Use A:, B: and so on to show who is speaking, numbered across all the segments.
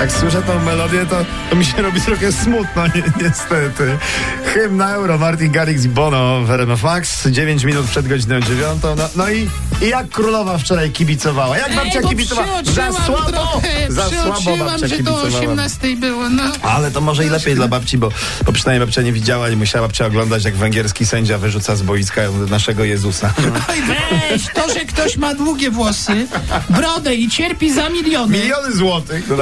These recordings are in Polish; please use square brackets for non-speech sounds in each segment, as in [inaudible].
A: Jak słyszę tą melodię, to, to mi się robi trochę smutno, ni- niestety. Hymna Euro, Martin Garrix i Bono w RMF Max, 9 minut przed godziną 9. No, no i, i jak królowa wczoraj kibicowała? Jak babcia
B: bo
A: kibicowała? Za
B: przeoczyłam
A: słabo!
B: trochę,
A: za słabo
B: przeoczyłam,
A: babcia
B: że
A: kibicowała.
B: do 18 było, no.
A: Ale to może i lepiej dla babci, bo, bo przynajmniej babcia nie widziała i musiała babcia oglądać, jak węgierski sędzia wyrzuca z boiska naszego Jezusa.
B: Oj, weź, to, że ktoś ma długie włosy, brodę i cierpi za miliony.
A: Miliony złotych. No,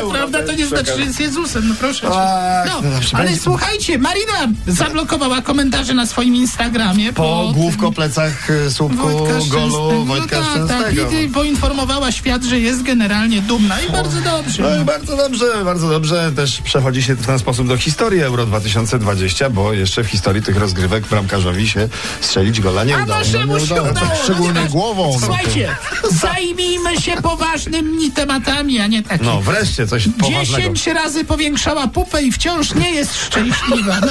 B: To prawda, to nie znaczy, że jest Jezusem, no proszę cię.
A: Tak,
B: No,
A: to zawsze
B: ale
A: będzie-
B: słuchajcie, Marina zablokowała komentarze na swoim Instagramie
A: Po
B: tym-
A: główko, plecach, y, słupku, golu
B: Szczęsnego.
A: Wojtka
B: no tak, tak.
A: Szczęsnego.
B: I, I poinformowała świat, że jest generalnie dumna i bardzo
A: No
B: dobrze.
A: i bardzo dobrze, bardzo dobrze. Też przechodzi się w ten sposób do historii Euro 2020, bo jeszcze w historii tych rozgrywek bramkarzowi się strzelić gola nie
B: A
A: udało.
B: naszemu
A: nie
B: się
A: udało. tak,
B: udało. no
C: szczególnie
B: zobacz.
C: głową, no to-
B: Słuchajcie, zajmijmy się poważnymi tematami, a nie takimi.
A: No wreszcie coś poważnego.
B: 10 razy powiększała pupę i wciąż nie jest szczęśliwa. No,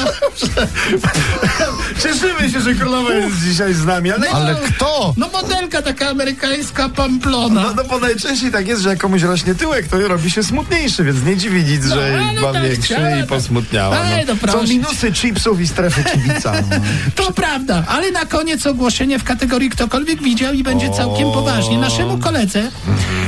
A: Cieszymy się, że królowa jest dzisiaj z nami, ale...
C: Ale kto?
B: no modelka taka amerykańska pamplona.
A: No, no bo najczęściej tak jest, że jak komuś rośnie tyłek, to robi się smutniejszy, więc nie dziwi nic, że
B: ale
A: mam
B: tak
A: większy
B: chciała,
A: i
B: tak.
A: posmutniała.
B: Ale no
A: Są
B: proszę cię.
A: minusy chipsów i strefy kibica.
B: [laughs]
A: No.
B: To prawda, ale na koniec ogłoszenie w kategorii ktokolwiek widział i będzie całkiem poważnie. Naszemu koledze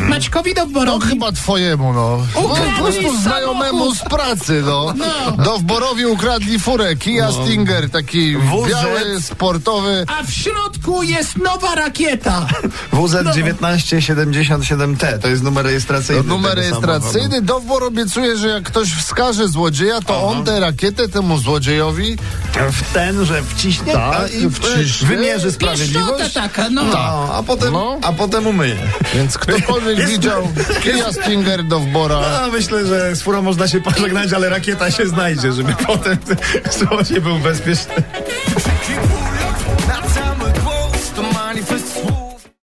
B: Maćkowi
C: No
B: Doborowi
C: chyba twojemu, no.
B: Ukradli
C: po prostu
B: samochód.
C: znajomemu z pracy, no.
B: No.
C: Do Wborowi ukradli furę Kia Stinger, taki
A: WZ.
C: biały, sportowy.
B: a w środku jest nowa rakieta. No.
A: WZ1977T to jest numer rejestracyjny.
C: No, Numer
A: tego samochodu.
C: rejestracyjny. Dowbor obiecuje, że jak ktoś wskaże złodzieja, to on tę rakietę temu złodziejowi
A: W ten, że wciśnie
C: Tak,
A: a, i
C: wciśnie.
A: wymierzy
B: Pieszczota
A: sprawiedliwość.
B: taka, no.
A: No, a potem,
C: No.
A: a potem umyje.
C: Więc ktokolwiek widział Kia Stinger do wbora.
A: A myślę, że z furą można się pożegnać, ale rakieta się znajdzie, żeby potem złodziej był bezpieczny.